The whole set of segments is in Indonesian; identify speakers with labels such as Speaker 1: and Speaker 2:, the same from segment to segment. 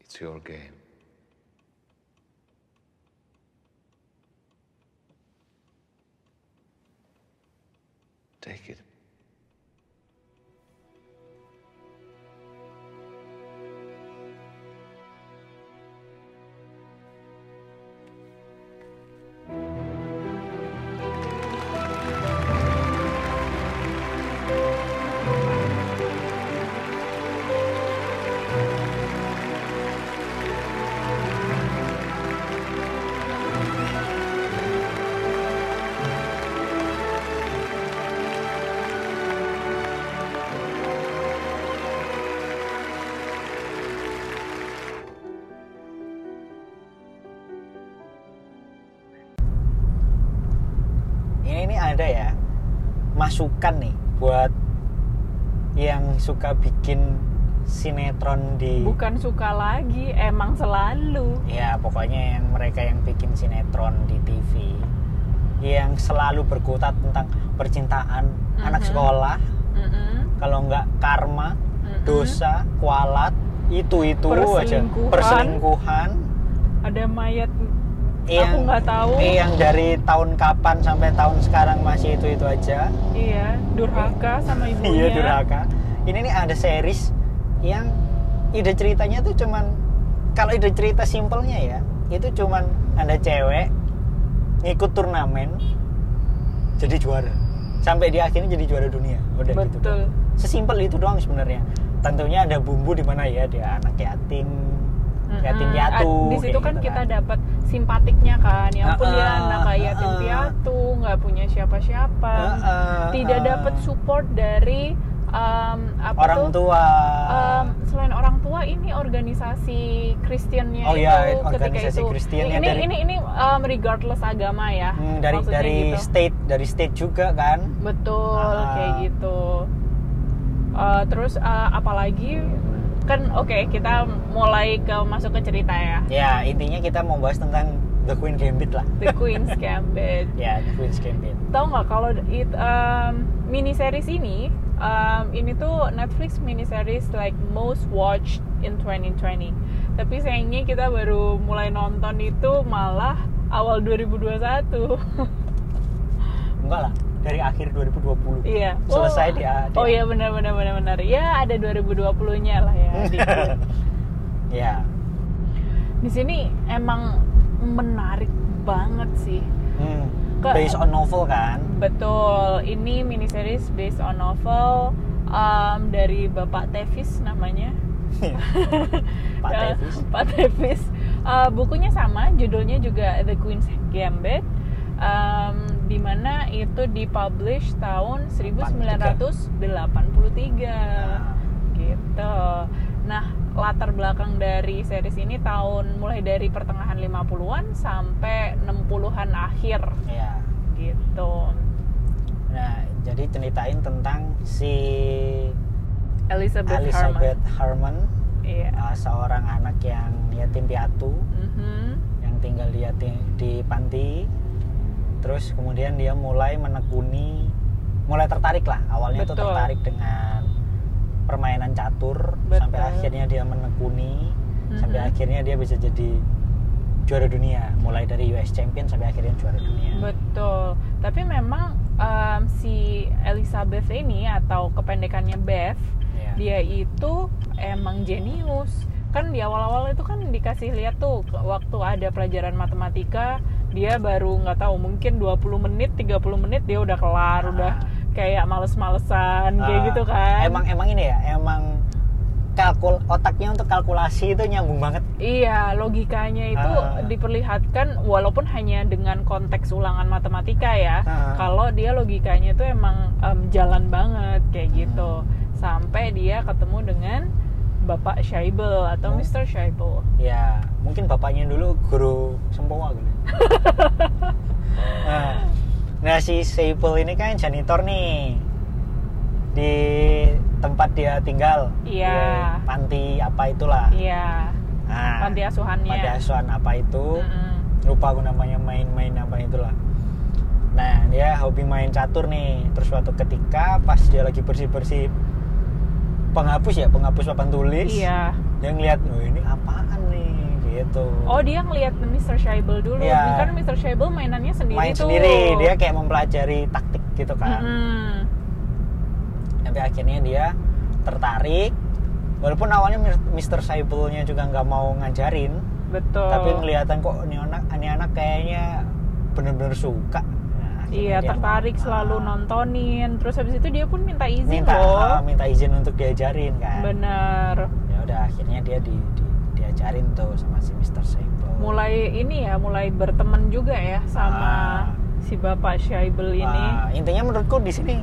Speaker 1: It's your game. Take it.
Speaker 2: ini, ini ada ya masukan nih buat yang suka bikin sinetron di
Speaker 3: Bukan suka lagi, emang selalu.
Speaker 2: ya pokoknya yang mereka yang bikin sinetron di TV yang selalu berkutat tentang percintaan anak
Speaker 3: Mhm.
Speaker 2: sekolah
Speaker 3: Mm-mm.
Speaker 2: kalau nggak karma
Speaker 3: Mm-mm.
Speaker 2: dosa kualat itu itu aja
Speaker 3: Perselingkuhan.
Speaker 2: perselingkuhan
Speaker 3: Ada mayat
Speaker 2: yang
Speaker 3: aku nggak tahu.
Speaker 2: yang dari tahun kapan sampai tahun sekarang masih itu itu aja
Speaker 3: Iya, durhaka sama
Speaker 2: Iya
Speaker 3: ibunya.
Speaker 2: durhaka. Ini nih ada series yang ide ceritanya tuh cuman kalau ide cerita simpelnya ya itu cuman ada cewek ngikut turnamen jadi juara sampai di akhirnya jadi juara dunia udah gitu
Speaker 3: Betul.
Speaker 2: doang. sesimpel itu doang sebenarnya tentunya ada bumbu di mana ya dia anak yatim yatim
Speaker 3: Mm-mm.
Speaker 2: piatu
Speaker 3: Ad- Di
Speaker 2: kayak
Speaker 3: situ kan
Speaker 2: gitu
Speaker 3: kita dapat simpatiknya kan. Ya ampun dia
Speaker 2: Ah,
Speaker 3: anak kayak yatim
Speaker 2: ah.
Speaker 3: piatu, nggak punya siapa-siapa.
Speaker 2: Ah, ah,
Speaker 3: Tidak
Speaker 2: ah.
Speaker 3: dapat support dari um, apa
Speaker 2: orang
Speaker 3: tuh?
Speaker 2: tua
Speaker 3: Um, selain orang tua ini organisasi Kristiannya
Speaker 2: Oh
Speaker 3: itu
Speaker 2: iya,
Speaker 3: ketika
Speaker 2: organisasi
Speaker 3: itu
Speaker 2: Kristiannya
Speaker 3: ini
Speaker 2: dari-
Speaker 3: ini ini um, regardless agama ya
Speaker 2: Hmm, dari
Speaker 3: maksudnya
Speaker 2: dari
Speaker 3: gitu.
Speaker 2: state dari state juga kan
Speaker 3: betul
Speaker 2: Ah.
Speaker 3: kayak gitu Uh, terus uh, apalagi kan oke kita mulai ke masuk ke cerita ya
Speaker 2: Ya, intinya kita mau bahas tentang The Queen Gambit lah.
Speaker 3: The Queen's Gambit
Speaker 2: Ya, The Queen's Gambit.
Speaker 3: tahu nggak kalau it um, mini series ini um, ini tuh Netflix mini series like most watched in 2020 tapi sayangnya kita baru mulai nonton itu malah awal 2021
Speaker 2: Enggak lah, dari akhir 2020.
Speaker 3: iya
Speaker 2: Selesai
Speaker 3: Wah.
Speaker 2: di di-
Speaker 3: oh iya benar benar benar benar ya ada 2020 nya lah ya dikit.
Speaker 2: Ya,
Speaker 3: di sini emang menarik banget sih
Speaker 2: hmm,
Speaker 3: Ke-
Speaker 2: based on novel kan.
Speaker 3: Betul, ini miniseries based on novel um, dari Bapak Tevis namanya.
Speaker 2: Pak
Speaker 3: Eh,
Speaker 2: Tevis.
Speaker 3: Pak Tevis. Eh, bukunya sama, judulnya juga The Queen's Gambit. Um, dimana itu dipublish tahun 1983 Eh. gitu. Nah, latar belakang dari series ini tahun mulai dari pertengahan 50-an sampai 60-an akhir
Speaker 2: Ya.
Speaker 3: gitu.
Speaker 2: Nah, jadi ceritain tentang si
Speaker 3: Elizabeth, Harmon.
Speaker 2: Elizabeth Harmon,
Speaker 3: Iya.
Speaker 2: uh, seorang anak yang yatim piatu
Speaker 3: Mhm.
Speaker 2: yang tinggal di yatim- di panti. Terus kemudian dia mulai menekuni, mulai tertarik lah. Awalnya tuh
Speaker 3: Betul.
Speaker 2: tertarik dengan permainan catur
Speaker 3: Betul.
Speaker 2: sampai akhirnya dia menekuni, sampai
Speaker 3: Mhm.
Speaker 2: akhirnya dia bisa jadi juara dunia. Mulai dari US Champion sampai akhirnya juara dunia.
Speaker 3: Betul. Tapi memang um, si Elizabeth ini atau kependekannya Beth,
Speaker 2: Iya.
Speaker 3: dia itu emang jenius. Kan di awal-awal itu kan dikasih lihat tuh ke- waktu ada pelajaran matematika, dia baru nggak tahu mungkin 20 menit, 30 menit dia udah kelar, udah kayak males-malesan kayak
Speaker 2: Ah,
Speaker 3: gitu kan.
Speaker 2: Emang emang ini ya, emang kalkul otaknya untuk kalkulasi itu nyambung banget.
Speaker 3: Iya, logikanya itu
Speaker 2: Ah.
Speaker 3: diperlihatkan walaupun hanya dengan konteks ulangan matematika ya.
Speaker 2: Ah.
Speaker 3: Kalau dia logikanya itu emang em, jalan banget kayak
Speaker 2: Hmm.
Speaker 3: gitu. Sampai dia ketemu dengan Bapak Syaibel atau
Speaker 2: Hmm.
Speaker 3: Mr. Syaibel.
Speaker 2: ya mungkin bapaknya dulu guru sempowa gitu nah, nah, si Seipul ini kan janitor nih di tempat dia tinggal
Speaker 3: Iya.
Speaker 2: Di panti apa itulah
Speaker 3: Iya,
Speaker 2: nah,
Speaker 3: panti asuhannya.
Speaker 2: panti asuhan apa itu
Speaker 3: Mm-mm.
Speaker 2: lupa aku namanya main-main apa itulah nah dia hobi main catur nih terus suatu ketika pas dia lagi bersih-bersih penghapus ya penghapus papan tulis
Speaker 3: Iya.
Speaker 2: dia ngeliat "Wah, "Oh, ini apaan nih gitu
Speaker 3: Oh dia ngelihat Mr. Shaibel dulu,
Speaker 2: Iya.
Speaker 3: kan Mr. Shaibel mainannya sendiri
Speaker 2: main
Speaker 3: tuh.
Speaker 2: sendiri dia kan. kayak mempelajari taktik gitu kan
Speaker 3: Mm-mm.
Speaker 2: sampai akhirnya dia tertarik walaupun awalnya Mir- Mr. Saibulnya juga nggak mau ngajarin
Speaker 3: Betul.
Speaker 2: tapi kelihatan kok ini anak ini anak kayaknya bener-bener suka Nah, akhirnya
Speaker 3: Iya
Speaker 2: dia
Speaker 3: tertarik
Speaker 2: mau.
Speaker 3: selalu
Speaker 2: Ah,
Speaker 3: nontonin. Terus habis itu dia pun minta izin
Speaker 2: minta
Speaker 3: loh.
Speaker 2: ah, minta izin untuk diajarin kan
Speaker 3: Bener.
Speaker 2: ya udah akhirnya dia di, di- diajarin tuh sama si Mr. Saibul
Speaker 3: Mulai ini ya, mulai berteman juga ya sama
Speaker 2: Ah.
Speaker 3: si bapak Shaibel ini.
Speaker 2: Wah, Nah, intinya menurutku di sini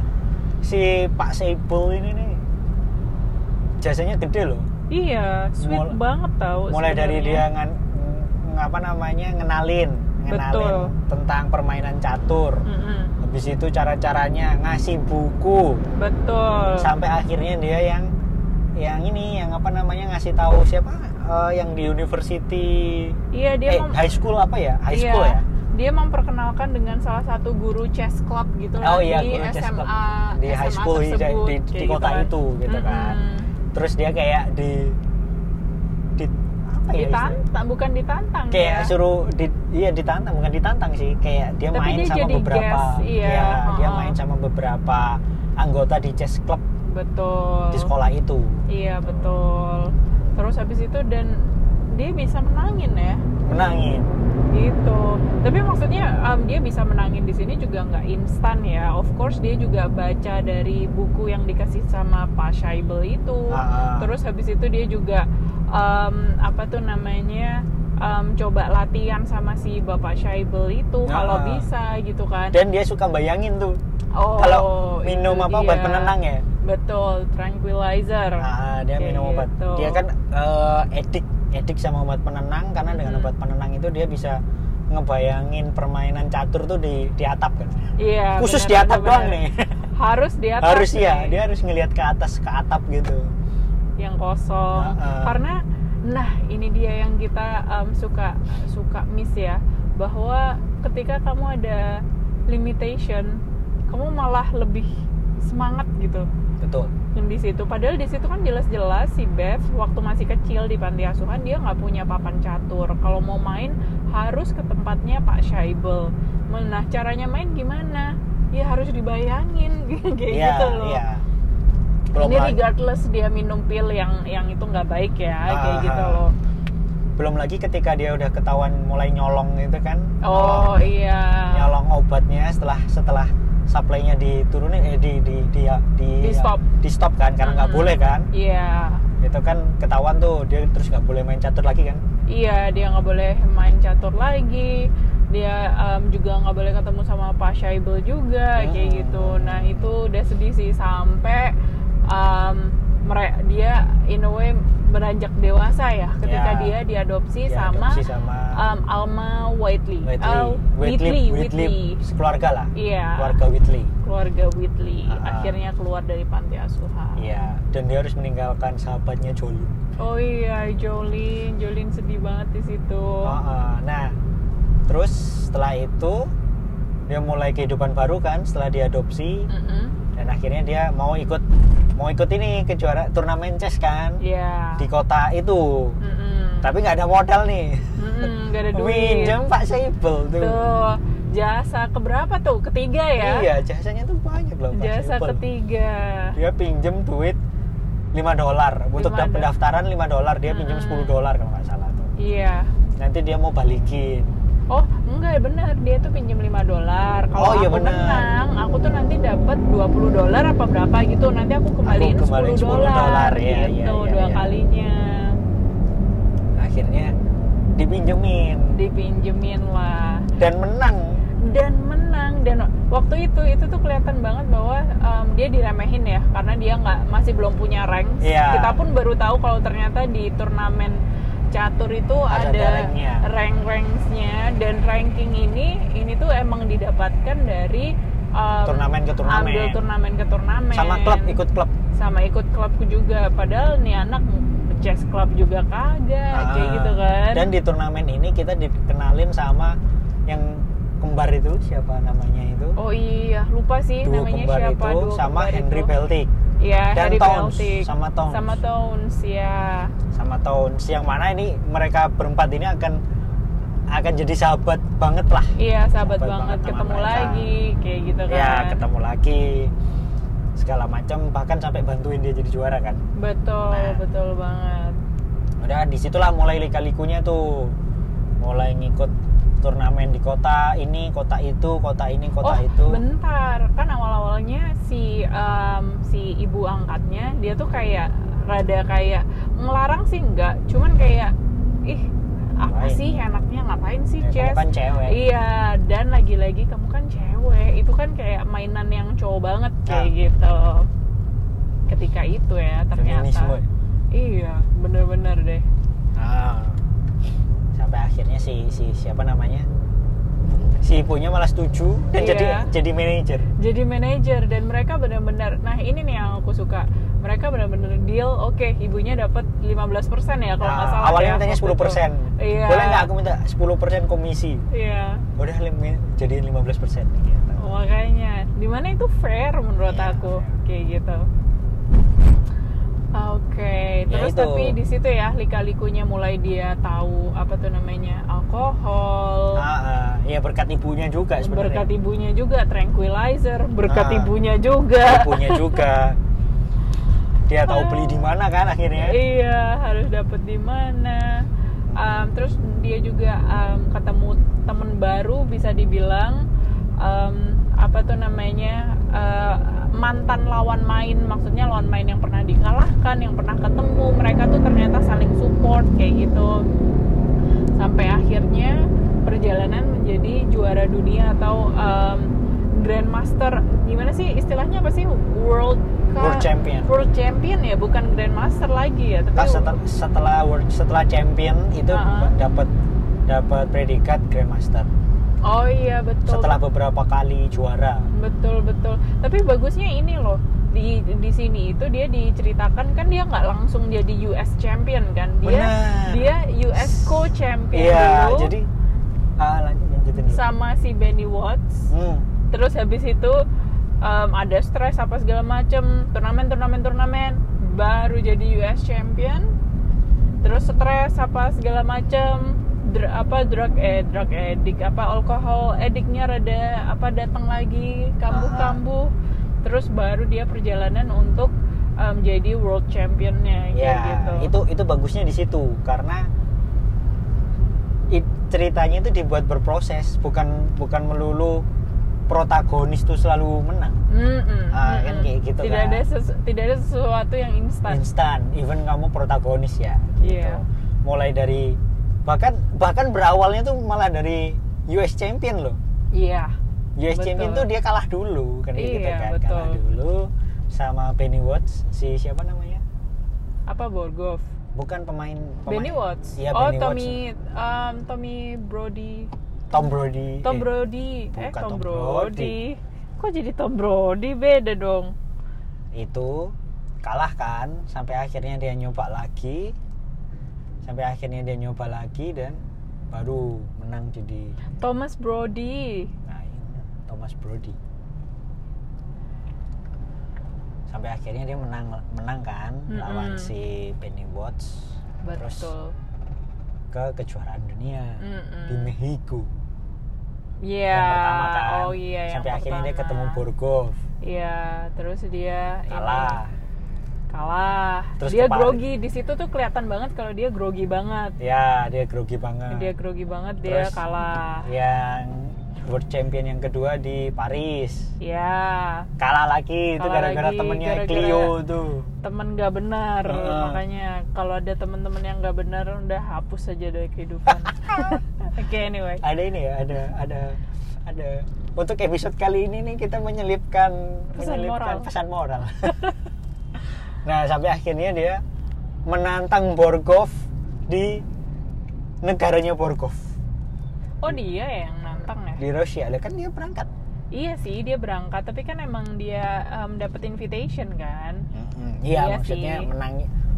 Speaker 2: si Pak Saibul ini nih jasanya gede loh
Speaker 3: Iya, sweet
Speaker 2: Mul-
Speaker 3: banget tau.
Speaker 2: mulai dari dia
Speaker 3: sebenarnya.
Speaker 2: ngan, ng- apa namanya ngenalin ngenalin
Speaker 3: Betul.
Speaker 2: tentang permainan catur
Speaker 3: Mm-mm.
Speaker 2: habis itu cara caranya ngasih buku
Speaker 3: Betul.
Speaker 2: sampai akhirnya dia yang yang ini yang apa namanya ngasih tahu siapa Eh, yang di university
Speaker 3: Iya
Speaker 2: eh,
Speaker 3: dia mem-
Speaker 2: high school apa ya high
Speaker 3: iya,
Speaker 2: school ya
Speaker 3: Dia memperkenalkan dengan salah satu guru chess club gitu
Speaker 2: Oh
Speaker 3: lah
Speaker 2: iya,
Speaker 3: di
Speaker 2: guru chess
Speaker 3: SMA
Speaker 2: club. Di high
Speaker 3: SMA
Speaker 2: school di-
Speaker 3: tersebut,
Speaker 2: di- di
Speaker 3: kayak
Speaker 2: kota
Speaker 3: kan.
Speaker 2: itu, gitu kan. terus dia kayak di di apa ya istilahnya?
Speaker 3: Ditantang, bukan ditantang
Speaker 2: kayak
Speaker 3: ya.
Speaker 2: suruh di, iya ditantang bukan ditantang sih kayak dia
Speaker 3: Tapi
Speaker 2: main
Speaker 3: dia
Speaker 2: sama
Speaker 3: jadi
Speaker 2: beberapa
Speaker 3: guest, iya,
Speaker 2: ya, dia
Speaker 3: heeh.
Speaker 2: main sama beberapa anggota di chess club
Speaker 3: Betul.
Speaker 2: di sekolah itu
Speaker 3: Iya betul. Terus habis itu dan dia bisa menangin ya,
Speaker 2: menangin
Speaker 3: gitu. Tapi maksudnya um, dia bisa menangin di sini juga nggak instan ya. Of course dia juga baca dari buku yang dikasih sama Pak Syaibel itu.
Speaker 2: Ah, ah.
Speaker 3: Oh. Terus habis itu dia juga um, apa tuh namanya um, coba latihan sama si Bapak Syaibel itu
Speaker 2: Ah,
Speaker 3: kalau
Speaker 2: ah.
Speaker 3: bisa gitu kan.
Speaker 2: dan dia suka bayangin tuh
Speaker 3: oh,
Speaker 2: kalau minum
Speaker 3: itu
Speaker 2: apa obat
Speaker 3: dia.
Speaker 2: penenang ya
Speaker 3: Betul, tranquilizer.
Speaker 2: Ah, dia
Speaker 3: Kayak
Speaker 2: minum obat
Speaker 3: gitu.
Speaker 2: dia kan eh, edik edik sama obat penenang karena dengan
Speaker 3: Mhm.
Speaker 2: obat penenang itu dia bisa ngebayangin permainan catur tuh di di atap kan
Speaker 3: Iya.
Speaker 2: khusus
Speaker 3: benar,
Speaker 2: di atap
Speaker 3: benar,
Speaker 2: doang
Speaker 3: benar.
Speaker 2: nih
Speaker 3: Harus di atas.
Speaker 2: harus ya
Speaker 3: nih,
Speaker 2: dia harus ngelihat ke atas ke atap gitu
Speaker 3: Yang kosong.
Speaker 2: Heeh.
Speaker 3: Karena, nah ini dia yang kita em, suka suka miss ya, bahwa ketika kamu ada limitation, kamu malah lebih semangat gitu
Speaker 2: betul
Speaker 3: yang di situ. Padahal di situ kan jelas-jelas si Bev waktu masih kecil di panti asuhan dia nggak punya papan catur. Kalau mau main harus ke tempatnya Pak Syaibel. Nah caranya main gimana? Ya harus dibayangin kayak
Speaker 2: Iya,
Speaker 3: gitu loh.
Speaker 2: iya. Belum,
Speaker 3: Ini
Speaker 2: lagi,
Speaker 3: regardless dia minum pil yang yang itu nggak baik ya kayak
Speaker 2: Ah.
Speaker 3: gitu loh.
Speaker 2: belum lagi ketika dia udah ketahuan mulai nyolong gitu kan.
Speaker 3: Oh
Speaker 2: Nyolong-
Speaker 3: iya.
Speaker 2: Nyolong obatnya setelah setelah supply-nya diturunin eh di di di di,
Speaker 3: Di stop.
Speaker 2: di stop kan karena nggak
Speaker 3: Mm-mm.
Speaker 2: boleh kan.
Speaker 3: Iya.
Speaker 2: Itu kan ketahuan tuh dia terus nggak boleh main catur lagi kan.
Speaker 3: Iya, dia nggak boleh main catur lagi. Dia em, juga nggak boleh ketemu sama Pak Syaibel juga, kayak
Speaker 2: Hmm.
Speaker 3: gitu. Nah itu udah sedih sih sampai em, mere- dia in a way beranjak dewasa ya, ketika
Speaker 2: Ya.
Speaker 3: dia diadopsi
Speaker 2: Dia
Speaker 3: sama,
Speaker 2: adopsi sama
Speaker 3: em, Alma Whiteley.
Speaker 2: Whitley.
Speaker 3: Eh, Whitley,
Speaker 2: Whitley,
Speaker 3: Whitley.
Speaker 2: keluarga lah.
Speaker 3: Iya,
Speaker 2: Keluarga Whitley.
Speaker 3: keluarga Whitley.
Speaker 2: Ah.
Speaker 3: Akhirnya keluar dari panti asuhan.
Speaker 2: Iya, dan dia harus meninggalkan sahabatnya Jolie.
Speaker 3: Oh iya, Jolene, Jolene sedih banget di situ.
Speaker 2: Heeh. Nah, terus setelah itu dia mulai kehidupan baru kan setelah diadopsi
Speaker 3: Mm-mm.
Speaker 2: dan akhirnya dia mau ikut mau ikut ini ke juara turnamen chess kan
Speaker 3: Iya.
Speaker 2: di kota itu.
Speaker 3: Mm-mm.
Speaker 2: Tapi nggak ada modal nih.
Speaker 3: Mm-mm, gak Hmm, ada duit.
Speaker 2: Minjem Pak Saibel tuh.
Speaker 3: Tuh, jasa keberapa tuh? Ketiga ya?
Speaker 2: Iya, jasanya tuh banyak loh Pak
Speaker 3: Jasa
Speaker 2: Saibel.
Speaker 3: ketiga.
Speaker 2: Dia pinjem duit 5 dolar untuk
Speaker 3: Lima Hmm. do-
Speaker 2: pendaftaran 5 dolar dia pinjem
Speaker 3: Mm-mm.
Speaker 2: 10 dolar kalau nggak salah tuh
Speaker 3: Iya.
Speaker 2: nanti dia mau balikin
Speaker 3: Oh, enggak benar. Dia tuh pinjam 5 dolar. Kalau
Speaker 2: Oh, iya
Speaker 3: aku
Speaker 2: benar.
Speaker 3: menang, aku tuh nanti dapat 20 dolar apa berapa gitu. Nanti aku kembaliin,
Speaker 2: Aku kembaliin
Speaker 3: 10
Speaker 2: 10 dolar,
Speaker 3: dolar
Speaker 2: iya, iya,
Speaker 3: gitu
Speaker 2: iya,
Speaker 3: dua
Speaker 2: iya.
Speaker 3: kalinya.
Speaker 2: akhirnya dipinjemin
Speaker 3: Dipinjemin lah.
Speaker 2: dan menang
Speaker 3: dan menang dan waktu itu itu tuh kelihatan banget bahwa um, dia diremehin ya karena dia nggak masih belum punya rank
Speaker 2: Iya.
Speaker 3: kita pun baru tahu kalau ternyata di turnamen catur itu
Speaker 2: Ada
Speaker 3: ada,
Speaker 2: ranknya.
Speaker 3: rank ranksnya dan ranking ini ini tuh emang didapatkan dari um,
Speaker 2: turnamen ke turnamen
Speaker 3: ambil turnamen ke turnamen
Speaker 2: sama klub ikut klub
Speaker 3: sama ikut klubku juga padahal nih anak chess club juga kagak kayak
Speaker 2: Ah.
Speaker 3: gitu kan
Speaker 2: dan di turnamen ini kita dikenalin sama yang kembar itu siapa namanya itu
Speaker 3: Oh iya, lupa sih
Speaker 2: duo
Speaker 3: namanya
Speaker 2: kembar
Speaker 3: siapa
Speaker 2: itu
Speaker 3: duo
Speaker 2: sama
Speaker 3: kembar
Speaker 2: Henry
Speaker 3: itu.
Speaker 2: Peltik
Speaker 3: Iya,
Speaker 2: dan
Speaker 3: Harry
Speaker 2: Towns,
Speaker 3: Peltic.
Speaker 2: sama Towns.
Speaker 3: Sama Towns, ya.
Speaker 2: sama tahun yang mana ini mereka berempat ini akan akan jadi sahabat banget lah
Speaker 3: Iya,
Speaker 2: Sahabat
Speaker 3: sahabat, banget,
Speaker 2: banget sama
Speaker 3: ketemu
Speaker 2: mereka.
Speaker 3: lagi kayak gitu kan.
Speaker 2: ya ketemu lagi segala macam bahkan sampai bantuin dia jadi juara kan
Speaker 3: Betul,
Speaker 2: Nah.
Speaker 3: betul banget.
Speaker 2: udah disitulah mulai lika-likunya tuh mulai ngikut turnamen di kota ini kota itu kota ini kota
Speaker 3: oh,
Speaker 2: itu
Speaker 3: bentar. Kan awal-awalnya si em, si ibu angkatnya dia tuh kayak rada kayak ngelarang sih enggak, cuman kayak ih, apa
Speaker 2: Ngapain?
Speaker 3: sih enaknya ngapain sih,
Speaker 2: Ya, kamu
Speaker 3: Ces?
Speaker 2: kan cewek
Speaker 3: Iya, dan lagi-lagi kamu kan cewek, itu kan kayak mainan yang cowok banget kayak
Speaker 2: Nah.
Speaker 3: gitu. Ketika itu ya ternyata.
Speaker 2: feminisme
Speaker 3: Iya, bener-bener deh.
Speaker 2: Ah. sampai akhirnya si si siapa namanya si ibunya malah setuju dan
Speaker 3: Iya.
Speaker 2: jadi jadi manajer
Speaker 3: Jadi manajer dan mereka bener-bener. Nah, ini nih yang aku suka. Mereka bener-bener deal, oke, ibunya dapat 15% ya kalau nggak
Speaker 2: Nah,
Speaker 3: salah. ya,
Speaker 2: awalnya mintanya
Speaker 3: waktu
Speaker 2: 10 persen
Speaker 3: itu. Iya.
Speaker 2: boleh nggak aku minta 10 komisi
Speaker 3: Iya.
Speaker 2: udah lim- ya. jadiin 15 persen gitu.
Speaker 3: Oh. Makanya, dimana itu fair menurut
Speaker 2: Iya,
Speaker 3: aku,
Speaker 2: fair.
Speaker 3: kayak gitu. Oke,
Speaker 2: Ya
Speaker 3: terus
Speaker 2: itu.
Speaker 3: tapi di situ ya lika-likunya mulai dia tahu apa tuh namanya
Speaker 2: Ah,
Speaker 3: alkohol,
Speaker 2: ah. ya berkat ibunya juga
Speaker 3: berkat
Speaker 2: sebenarnya
Speaker 3: ibunya juga tranquilizer, berkat
Speaker 2: Ah.
Speaker 3: ibunya juga.
Speaker 2: ibunya juga dia tahu beli di mana kan akhirnya
Speaker 3: Iya, harus dapet di mana. Um, terus dia juga um, ketemu temen baru bisa dibilang um, apa tuh namanya uh, mantan lawan main, maksudnya lawan main yang pernah dikalahkan, yang pernah ketemu. Mereka tuh ternyata saling support kayak gitu. Sampai akhirnya perjalanan menjadi juara dunia atau um, grandmaster. Gimana sih istilahnya apa sih world Cup?
Speaker 2: world champion
Speaker 3: World Champion ya, bukan Grandmaster lagi ya, tapi
Speaker 2: Nah, setel- setelah world- setelah champion itu
Speaker 3: Ah, ah.
Speaker 2: dapat dapat predikat grandmaster
Speaker 3: Oh iya betul.
Speaker 2: setelah beberapa kali juara
Speaker 3: betul betul. Tapi bagusnya ini loh di di sini itu dia diceritakan kan dia nggak langsung jadi US Champion kan, dia
Speaker 2: Benar.
Speaker 3: dia US Co Champion
Speaker 2: iya
Speaker 3: dulu
Speaker 2: jadi ah, lanjut lanjutin dulu
Speaker 3: sama si Benny Watts.
Speaker 2: Hmm.
Speaker 3: Terus habis itu em, ada stres apa segala macem turnamen turnamen turnamen baru jadi US Champion. terus stres apa segala macam apa drug eh drug addict apa alkohol addictnya rada apa datang lagi kambuh-kambuh terus baru dia perjalanan untuk em, jadi world championnya kayak
Speaker 2: ya
Speaker 3: gitu
Speaker 2: itu itu bagusnya di situ karena it- ceritanya itu dibuat berproses bukan bukan melulu protagonis tuh selalu menang
Speaker 3: Mm-mm,
Speaker 2: Ah,
Speaker 3: mm-mm.
Speaker 2: kan kayak gitu
Speaker 3: tidak
Speaker 2: kan.
Speaker 3: ada sesu- tidak ada sesuatu yang instan
Speaker 2: instan even kamu protagonis ya gitu
Speaker 3: Iya.
Speaker 2: mulai dari bahkan bahkan berawalnya tuh malah dari US Champion loh
Speaker 3: iya
Speaker 2: US
Speaker 3: Betul.
Speaker 2: Champion tuh dia kalah dulu kan kayak gitu
Speaker 3: Iya,
Speaker 2: kan
Speaker 3: betul.
Speaker 2: kalah dulu sama Benny Watts si siapa namanya
Speaker 3: apa Borgov
Speaker 2: bukan pemain, pemain.
Speaker 3: Benny Watts
Speaker 2: Iya,
Speaker 3: oh
Speaker 2: Benny Watts.
Speaker 3: Tommy em, Tommy Brody
Speaker 2: Tom Brody Eh,
Speaker 3: Tom Brody eh
Speaker 2: bukan
Speaker 3: Tom
Speaker 2: Tom
Speaker 3: Brody kok jadi Tom Brody beda dong
Speaker 2: Eh, itu kalah kan sampai akhirnya dia nyoba lagi sampai akhirnya dia nyoba lagi dan baru menang jadi
Speaker 3: Thomas Brody
Speaker 2: nah, ini Thomas Brody sampai akhirnya dia menang menang kan
Speaker 3: Mm-mm.
Speaker 2: lawan si Benny Watts terus
Speaker 3: betul
Speaker 2: ke kejuaraan dunia
Speaker 3: Mm-mm.
Speaker 2: di Mexico
Speaker 3: Iya.
Speaker 2: yang pertama kan
Speaker 3: oh iya yang
Speaker 2: sampai akhirnya dia
Speaker 3: pertama.
Speaker 2: ketemu Borgov
Speaker 3: Iya, terus dia ini,
Speaker 2: kalah
Speaker 3: kalah.
Speaker 2: Terus
Speaker 3: dia
Speaker 2: kepala-
Speaker 3: grogi di situ tuh kelihatan banget kalau dia grogi banget.
Speaker 2: ya dia grogi banget
Speaker 3: Dia grogi banget, dia
Speaker 2: Terus-
Speaker 3: kalah.
Speaker 2: yang world champion yang kedua di Paris
Speaker 3: Ya,
Speaker 2: kalah lagi itu
Speaker 3: Kalah
Speaker 2: gara-gara
Speaker 3: lagi,
Speaker 2: temennya
Speaker 3: gara-gara-
Speaker 2: Clio tuh
Speaker 3: temen gak benar
Speaker 2: Heeh.
Speaker 3: makanya kalau ada temen-temen yang gak benar udah hapus aja dari kehidupan. Oke anyway.
Speaker 2: ada ini ya ada ada ada untuk episode kali ini nih kita menyelipkan
Speaker 3: Pesan
Speaker 2: menyelipkan
Speaker 3: moral.
Speaker 2: pesan moral nah sampai akhirnya dia menantang Borgov di negaranya Borgov
Speaker 3: Oh dia yang nantang ya?
Speaker 2: di Rusia Lah, kan dia berangkat
Speaker 3: Iya sih dia berangkat tapi kan emang dia em, dapet invitation kan?
Speaker 2: iya
Speaker 3: Iya
Speaker 2: maksudnya
Speaker 3: sih.
Speaker 2: menang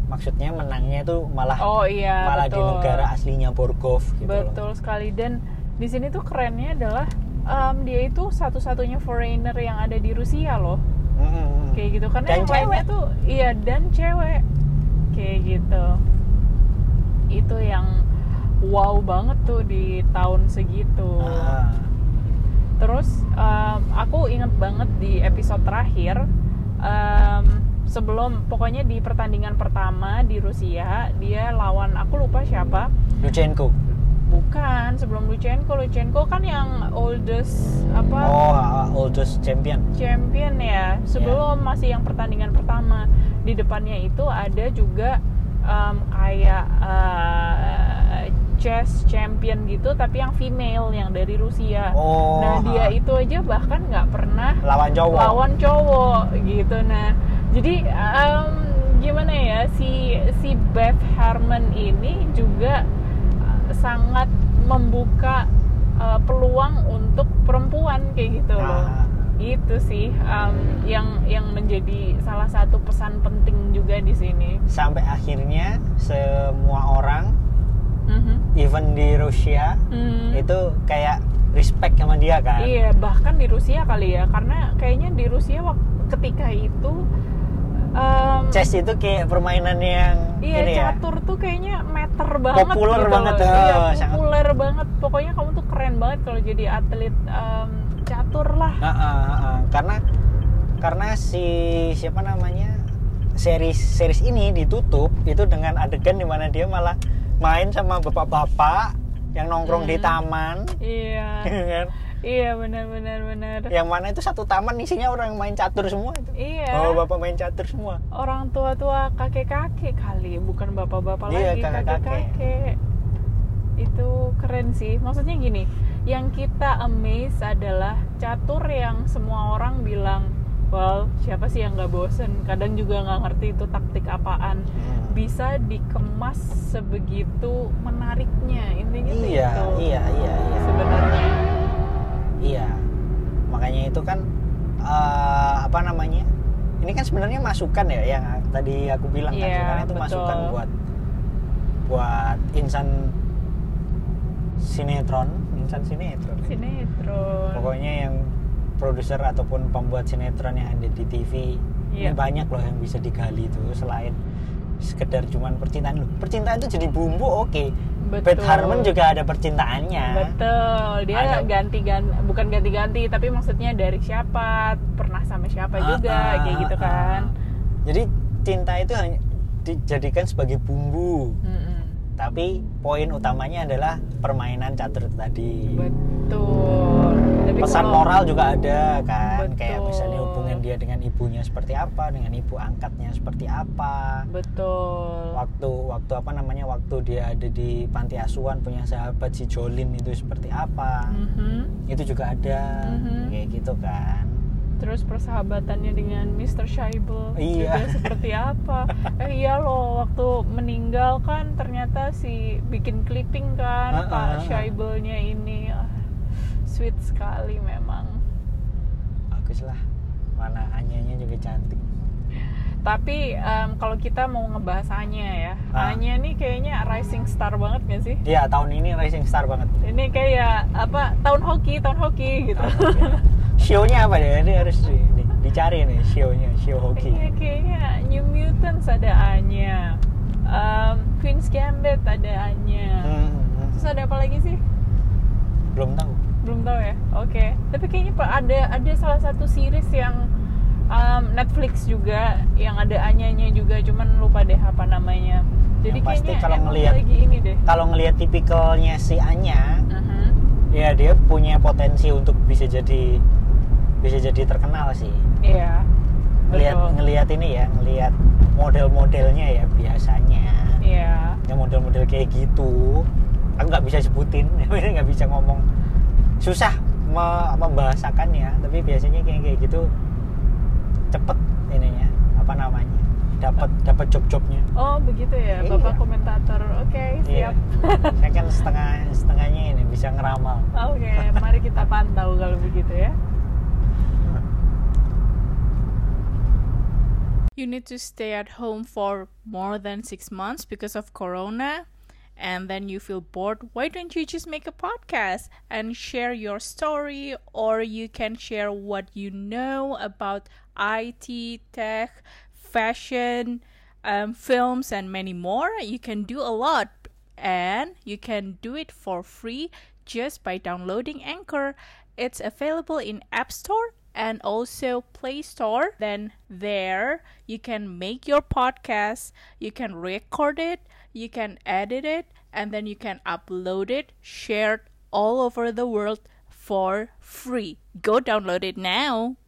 Speaker 2: maksudnya menangnya tuh malah
Speaker 3: Oh iya
Speaker 2: Ah, malah
Speaker 3: betul.
Speaker 2: di negara aslinya Borgov gitu loh.
Speaker 3: betul sekali dan di sini tuh kerennya adalah em, dia itu satu-satunya foreigner yang ada di Rusia loh
Speaker 2: Mm-mm.
Speaker 3: kayak gitu karena
Speaker 2: Dan
Speaker 3: yang lainnya
Speaker 2: cewek.
Speaker 3: tuh iya dan cewek kayak gitu itu yang wow banget tuh di tahun segitu
Speaker 2: Ah.
Speaker 3: terus em, aku inget banget di episode terakhir em, sebelum pokoknya di pertandingan pertama di Rusia dia lawan aku lupa siapa
Speaker 2: Lutsenko.
Speaker 3: bukan sebelum Luchenko Luchenko kan yang oldest apa
Speaker 2: Oh, ah, oldest champion.
Speaker 3: champion ya sebelum
Speaker 2: Iya.
Speaker 3: masih yang pertandingan pertama di depannya itu ada juga em, kayak eh, chess champion gitu tapi yang female yang dari Rusia
Speaker 2: Oh.
Speaker 3: nah
Speaker 2: ah.
Speaker 3: dia itu aja bahkan nggak pernah
Speaker 2: lawan cowok.
Speaker 3: lawan cowok gitu nah jadi em, gimana ya si si Beth Harmon ini juga eh, sangat membuka eh, peluang untuk perempuan kayak gitu loh
Speaker 2: Ah.
Speaker 3: itu sih em, yang yang menjadi salah satu pesan penting juga di sini
Speaker 2: Sampai akhirnya semua orang
Speaker 3: Mhm.
Speaker 2: even di Rusia
Speaker 3: Hmm.
Speaker 2: itu kayak respect sama dia kan.
Speaker 3: Iya, bahkan di Rusia kali ya, karena kayaknya di Rusia waktu ketika itu em,
Speaker 2: Chess itu kayak permainan yang
Speaker 3: Iya
Speaker 2: ini ya.
Speaker 3: catur tuh kayaknya meter banget
Speaker 2: Populer
Speaker 3: gitu
Speaker 2: banget,
Speaker 3: loh. Iya,
Speaker 2: eh, sangat.
Speaker 3: populer banget pokoknya kamu tuh keren banget kalau jadi atlet em, catur lah
Speaker 2: Ah, ah, ah, ah. Karena karena si siapa namanya series series ini ditutup itu dengan adegan dimana dia malah main sama bapak-bapak yang nongkrong di
Speaker 3: Hmm.
Speaker 2: taman,
Speaker 3: iya
Speaker 2: kan?
Speaker 3: iya benar benar benar
Speaker 2: Yang mana itu satu taman isinya orang main catur semua itu.
Speaker 3: iya
Speaker 2: Oh bapak main catur semua.
Speaker 3: orang tua tua kakek kakek kali bukan bapak bapak
Speaker 2: Iya,
Speaker 3: lagi kakek
Speaker 2: kakek-kakek.
Speaker 3: kakek itu keren sih maksudnya gini yang kita amaze adalah catur yang semua orang bilang well siapa sih yang nggak bosen kadang juga nggak ngerti itu taktik apaan bisa dikemas sebegitu menariknya intinya tuh
Speaker 2: Iya,
Speaker 3: itu
Speaker 2: iya, iya, iya.
Speaker 3: sebenarnya
Speaker 2: Iya. Makanya itu kan eh, apa namanya? Ini kan sebenarnya masukan ya yang tadi aku bilang kan
Speaker 3: Iya,
Speaker 2: sebenarnya itu
Speaker 3: betul.
Speaker 2: masukan buat buat insan sinetron, insan sinetron.
Speaker 3: sinetron
Speaker 2: Pokoknya yang produser ataupun pembuat sinetron yang ada di TV
Speaker 3: Iya.
Speaker 2: ini banyak loh yang bisa digali itu selain sekedar cuman percintaan loh. Percintaan itu jadi bumbu oke. Beth Harmon juga ada percintaannya.
Speaker 3: betul dia
Speaker 2: Iya. Ada-
Speaker 3: ganti ganti bukan ganti ganti tapi maksudnya dari siapa pernah sama siapa juga
Speaker 2: Ah, ah,
Speaker 3: kayak gitu
Speaker 2: ah,
Speaker 3: kan
Speaker 2: ah. Jadi cinta itu hanya dijadikan sebagai bumbu,
Speaker 3: Mm-mm.
Speaker 2: tapi poin utamanya adalah permainan catur itu tadi.
Speaker 3: betul tapi
Speaker 2: Pesan
Speaker 3: kalau-
Speaker 2: moral juga ada kan, kayak
Speaker 3: Betul.
Speaker 2: misalnya hubungan dia dengan ibunya seperti apa, dengan ibu angkatnya seperti apa.
Speaker 3: betul
Speaker 2: Waktu waktu apa namanya waktu dia ada di panti asuhan punya sahabat si Jolin itu seperti apa.
Speaker 3: Mhm.
Speaker 2: Itu juga ada.
Speaker 3: Mhm.
Speaker 2: Kayak gitu kan.
Speaker 3: Terus persahabatannya dengan Mr. Shaibel
Speaker 2: Iya.
Speaker 3: juga seperti apa? Eh iya loh, waktu meninggal kan ternyata si bikin clipping
Speaker 2: Ah,
Speaker 3: kan Pak
Speaker 2: ah, ah.
Speaker 3: Shaibelnya ini Ah, sweet sekali memang.
Speaker 2: Bagus lah. Mana Anyanya juga cantik.
Speaker 3: Tapi em, kalau kita mau ngebahas Anya ya,
Speaker 2: Ah.
Speaker 3: Anya nih kayaknya rising star banget gak sih?
Speaker 2: Iya, tahun ini rising star banget.
Speaker 3: Ini kayak apa tahun hoki, tahun hoki gitu.
Speaker 2: Show-nya apa ya? Ini harus di- di- dicari nih show-nya, show
Speaker 3: Iya
Speaker 2: hoki.
Speaker 3: kayaknya New Mutants ada Anya, Em, Queen's Gambit ada Anya.
Speaker 2: Hmm, hmm.
Speaker 3: Terus ada apa lagi sih?
Speaker 2: belum tahu.
Speaker 3: Belum tahu ya. Oke. Tapi kayaknya pe- ada ada salah satu series yang um, Netflix juga yang ada anyanya juga, cuman lupa deh apa namanya. Jadi
Speaker 2: Yang pasti
Speaker 3: kayaknya
Speaker 2: kalau
Speaker 3: emang
Speaker 2: ngelihat-
Speaker 3: lagi ini deh.
Speaker 2: Kalau ngelihat tipikalnya si Anya,
Speaker 3: Mhm.
Speaker 2: ya dia punya potensi untuk bisa jadi bisa jadi terkenal sih.
Speaker 3: Iya.
Speaker 2: Ngelihat
Speaker 3: Betul.
Speaker 2: ngelihat ini ya, ngelihat model-modelnya ya biasanya.
Speaker 3: Iya.
Speaker 2: Ya model-model kayak gitu. Aku nggak bisa sebutin, nggak bisa ngomong. Susah me- membahasakannya, tapi biasanya kayak kayak gitu cepet ininya apa namanya dapat dapat job-jobnya
Speaker 3: Oh begitu ya,
Speaker 2: Iya.
Speaker 3: bapak komentator. Oke
Speaker 2: Iya.
Speaker 3: siap.
Speaker 2: Saya kan setengah setengahnya ini bisa ngeramal.
Speaker 3: Oke, mari kita pantau kalau begitu ya. You need to stay at home for more than six months because of corona, and then you feel bored, why don't you just make a podcast and share your story or you can share what you know about IT, tech, fashion, um, films, and many more? You can do a lot and you can do it for free just by downloading Anchor. It's available in App Store and also Play Store. Then there you can make your podcast, you can record it, you can edit it, and then you can upload it, shared all over the world for free. Go download it now.